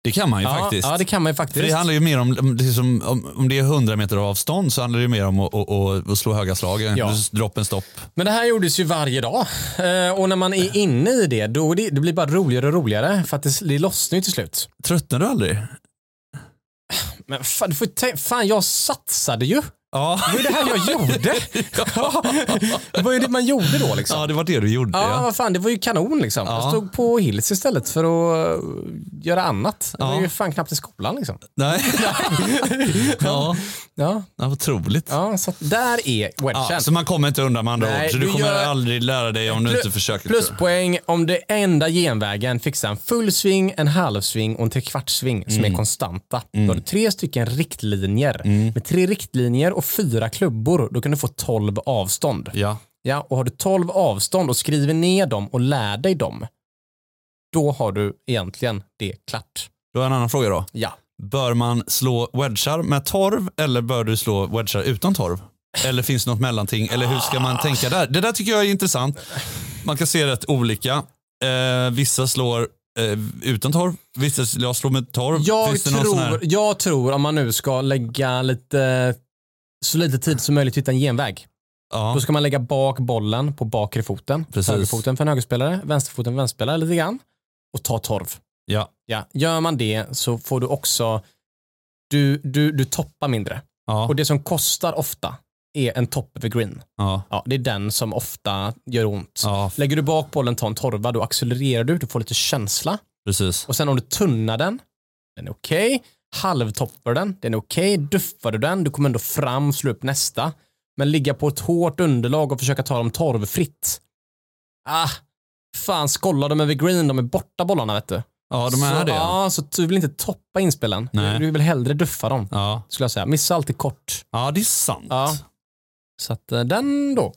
Speaker 2: Det kan man ju
Speaker 1: Ja,
Speaker 2: faktiskt.
Speaker 1: ja, det kan man ju
Speaker 2: För
Speaker 1: faktiskt.
Speaker 2: det handlar ju mer om, om, liksom, om, om det är 100 meter avstånd så handlar det ju mer om att, att, att, att slå höga slag.
Speaker 1: Ja.
Speaker 2: Droppen stopp.
Speaker 1: Men det här gjordes ju varje dag. Eh, och när man är inne i det, då är det, det blir bara roligare och roligare för att det, det lossnar ju till slut.
Speaker 2: Tröttnar du aldrig?
Speaker 1: Men fan, du får ju tänk- fan jag satsade ju.
Speaker 2: Ja,
Speaker 1: Det var ju det här jag
Speaker 2: *laughs*
Speaker 1: gjorde. *laughs* Ja. Det var ju det man gjorde då liksom.
Speaker 2: ja det var det du gjorde.
Speaker 1: Ja,
Speaker 2: Ja.
Speaker 1: vad fan, det var ju kanon liksom.
Speaker 2: Ja.
Speaker 1: Jag stod på Hills istället för att eh, göra annat. Det var
Speaker 2: Ja.
Speaker 1: ju fan knappt i skolan liksom. *laughs*
Speaker 2: Nej.
Speaker 1: Ja,
Speaker 2: ja. ja, vad otroligt. Ja.
Speaker 1: ja så att där är wedgen.
Speaker 2: så man kommer inte undan med andra
Speaker 1: Nej,
Speaker 2: ord. Så du
Speaker 1: du
Speaker 2: kommer
Speaker 1: gör-
Speaker 2: aldrig lära dig om du inte
Speaker 1: Plu-
Speaker 2: försöker.
Speaker 1: Pluspoäng om det enda genvägen fixar en full sving, en halvsving och en trekvartssving som
Speaker 2: Mm.
Speaker 1: är konstanta. Då har du tre stycken riktlinjer. Med tre riktlinjer och fyra klubbor, då kan du få 12 avstånd.
Speaker 2: Ja.
Speaker 1: Ja, och har du 12 avstånd och skriver ner dem och lär dig dem, då har du egentligen det klart.
Speaker 2: Då har jag en annan fråga då.
Speaker 1: Ja.
Speaker 2: Bör man slå wedgar med torv eller bör du slå wedgar utan torv? Eller finns det något mellanting? Eller hur ska man tänka där? Det där tycker jag är intressant. Man kan se rätt olika. Eh, vissa slår eh, utan torv, vissa sl- jag slår med torv.
Speaker 1: Jag
Speaker 2: finns det någon sån här?
Speaker 1: tror, jag tror om man nu ska lägga lite så lite tid som möjligt att hitta en genväg.
Speaker 2: Ja.
Speaker 1: Då ska man lägga bak bollen på bakre foten.
Speaker 2: Precis.
Speaker 1: Högerfoten för en högerspelare, vänsterfoten för en vänsterspelare lite grann. Och ta torv.
Speaker 2: Ja.
Speaker 1: Ja. Gör man det så får du också, du, du, du toppar mindre.
Speaker 2: Ja.
Speaker 1: Och det som kostar ofta är en topp över green.
Speaker 2: Ja.
Speaker 1: Ja, det är den som ofta gör ont.
Speaker 2: ja,
Speaker 1: Lägger du bak bollen, tar en torva, då accelererar du, du får lite känsla.
Speaker 2: precis.
Speaker 1: Och sen om du tunnar den, den är okej. Halvtoppar den, den är okej. Duffar du den, du kommer ändå fram, slå upp nästa. Men ligga på ett hårt underlag och försöka ta dem torvfritt. Ah, fan skolla dem över green, de är borta bollarna vet du.
Speaker 2: Ja, de är
Speaker 1: så,
Speaker 2: det. Ja.
Speaker 1: Ja, så du vill inte toppa inspelen.
Speaker 2: Nej.
Speaker 1: Du, du vill hellre duffa dem,
Speaker 2: Ja.
Speaker 1: skulle jag säga. Missa alltid kort.
Speaker 2: ja, det är sant.
Speaker 1: Ja. Så att eh, den då.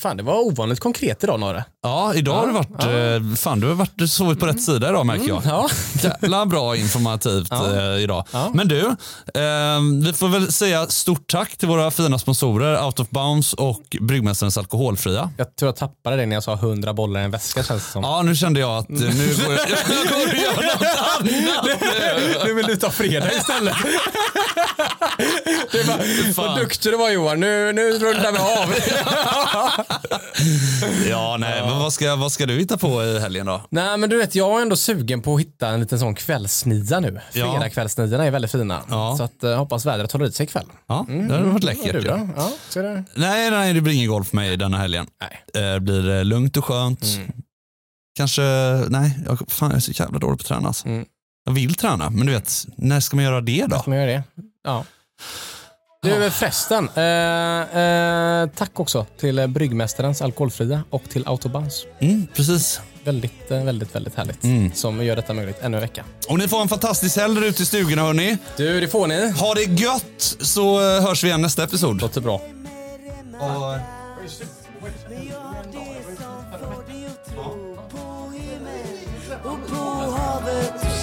Speaker 1: Fan, det var ovanligt konkret idag, Norre.
Speaker 2: Ja, Mm. idag har du varit, eh, fan du har varit, sovit på rätt sida idag märker jag.
Speaker 1: Ja.
Speaker 2: Jävla bra informativt
Speaker 1: Ja.
Speaker 2: eh, idag.
Speaker 1: Ja.
Speaker 2: Men du, eh, vi får väl säga stort tack till våra fina sponsorer Out of Bounds och Bryggmästarens Alkoholfria.
Speaker 1: Jag tror jag tappade det när jag sa 100 bollar i en väska, känns det som.
Speaker 2: Ja, nu kände jag att eh, nu går *laughs* jag, jag går och gör något
Speaker 1: Nu vill du ta fredag istället. Det är bara, vad duktig du var Johan, nu, nu rundar vi av.
Speaker 2: Ja, nej, men vad ska, vad ska du hitta på i helgen då?
Speaker 1: Nej men du vet, jag är ändå sugen på att hitta en liten sån kvällsnia nu.
Speaker 2: Ja.
Speaker 1: Fredagkvällsniorna är väldigt fina.
Speaker 2: Ja.
Speaker 1: Så att, eh, hoppas vädret håller i sig ikväll.
Speaker 2: Ja, det hade varit
Speaker 1: Är
Speaker 2: läckert.
Speaker 1: du
Speaker 2: ju.
Speaker 1: då? Mm. Ja, så är det.
Speaker 2: Nej, nej, det blir ingen golf för mig denna helgen.
Speaker 1: Nej. Mm.
Speaker 2: Eh, Det blir eh, lugnt och skönt. Kanske, nej, jag, fan, jag är så jävla dålig på att träna. Alltså.
Speaker 1: Mm.
Speaker 2: Jag vill träna, men du vet, när ska man göra det då?
Speaker 1: Men gör det. Ja. Du förresten, eh, eh, tack också till eh, Bryggmästarens Alkoholfria och till Autobahns.
Speaker 2: Mm, precis.
Speaker 1: Väldigt, eh, väldigt, väldigt härligt som gör detta möjligt ännu en vecka.
Speaker 2: Och ni får en fantastisk helg där ute i stugorna hörni.
Speaker 1: Du, det får ni.
Speaker 2: Ha det gött så eh, hörs vi igen nästa episod.
Speaker 1: Låter bra.
Speaker 2: Och, eh,
Speaker 5: och på havet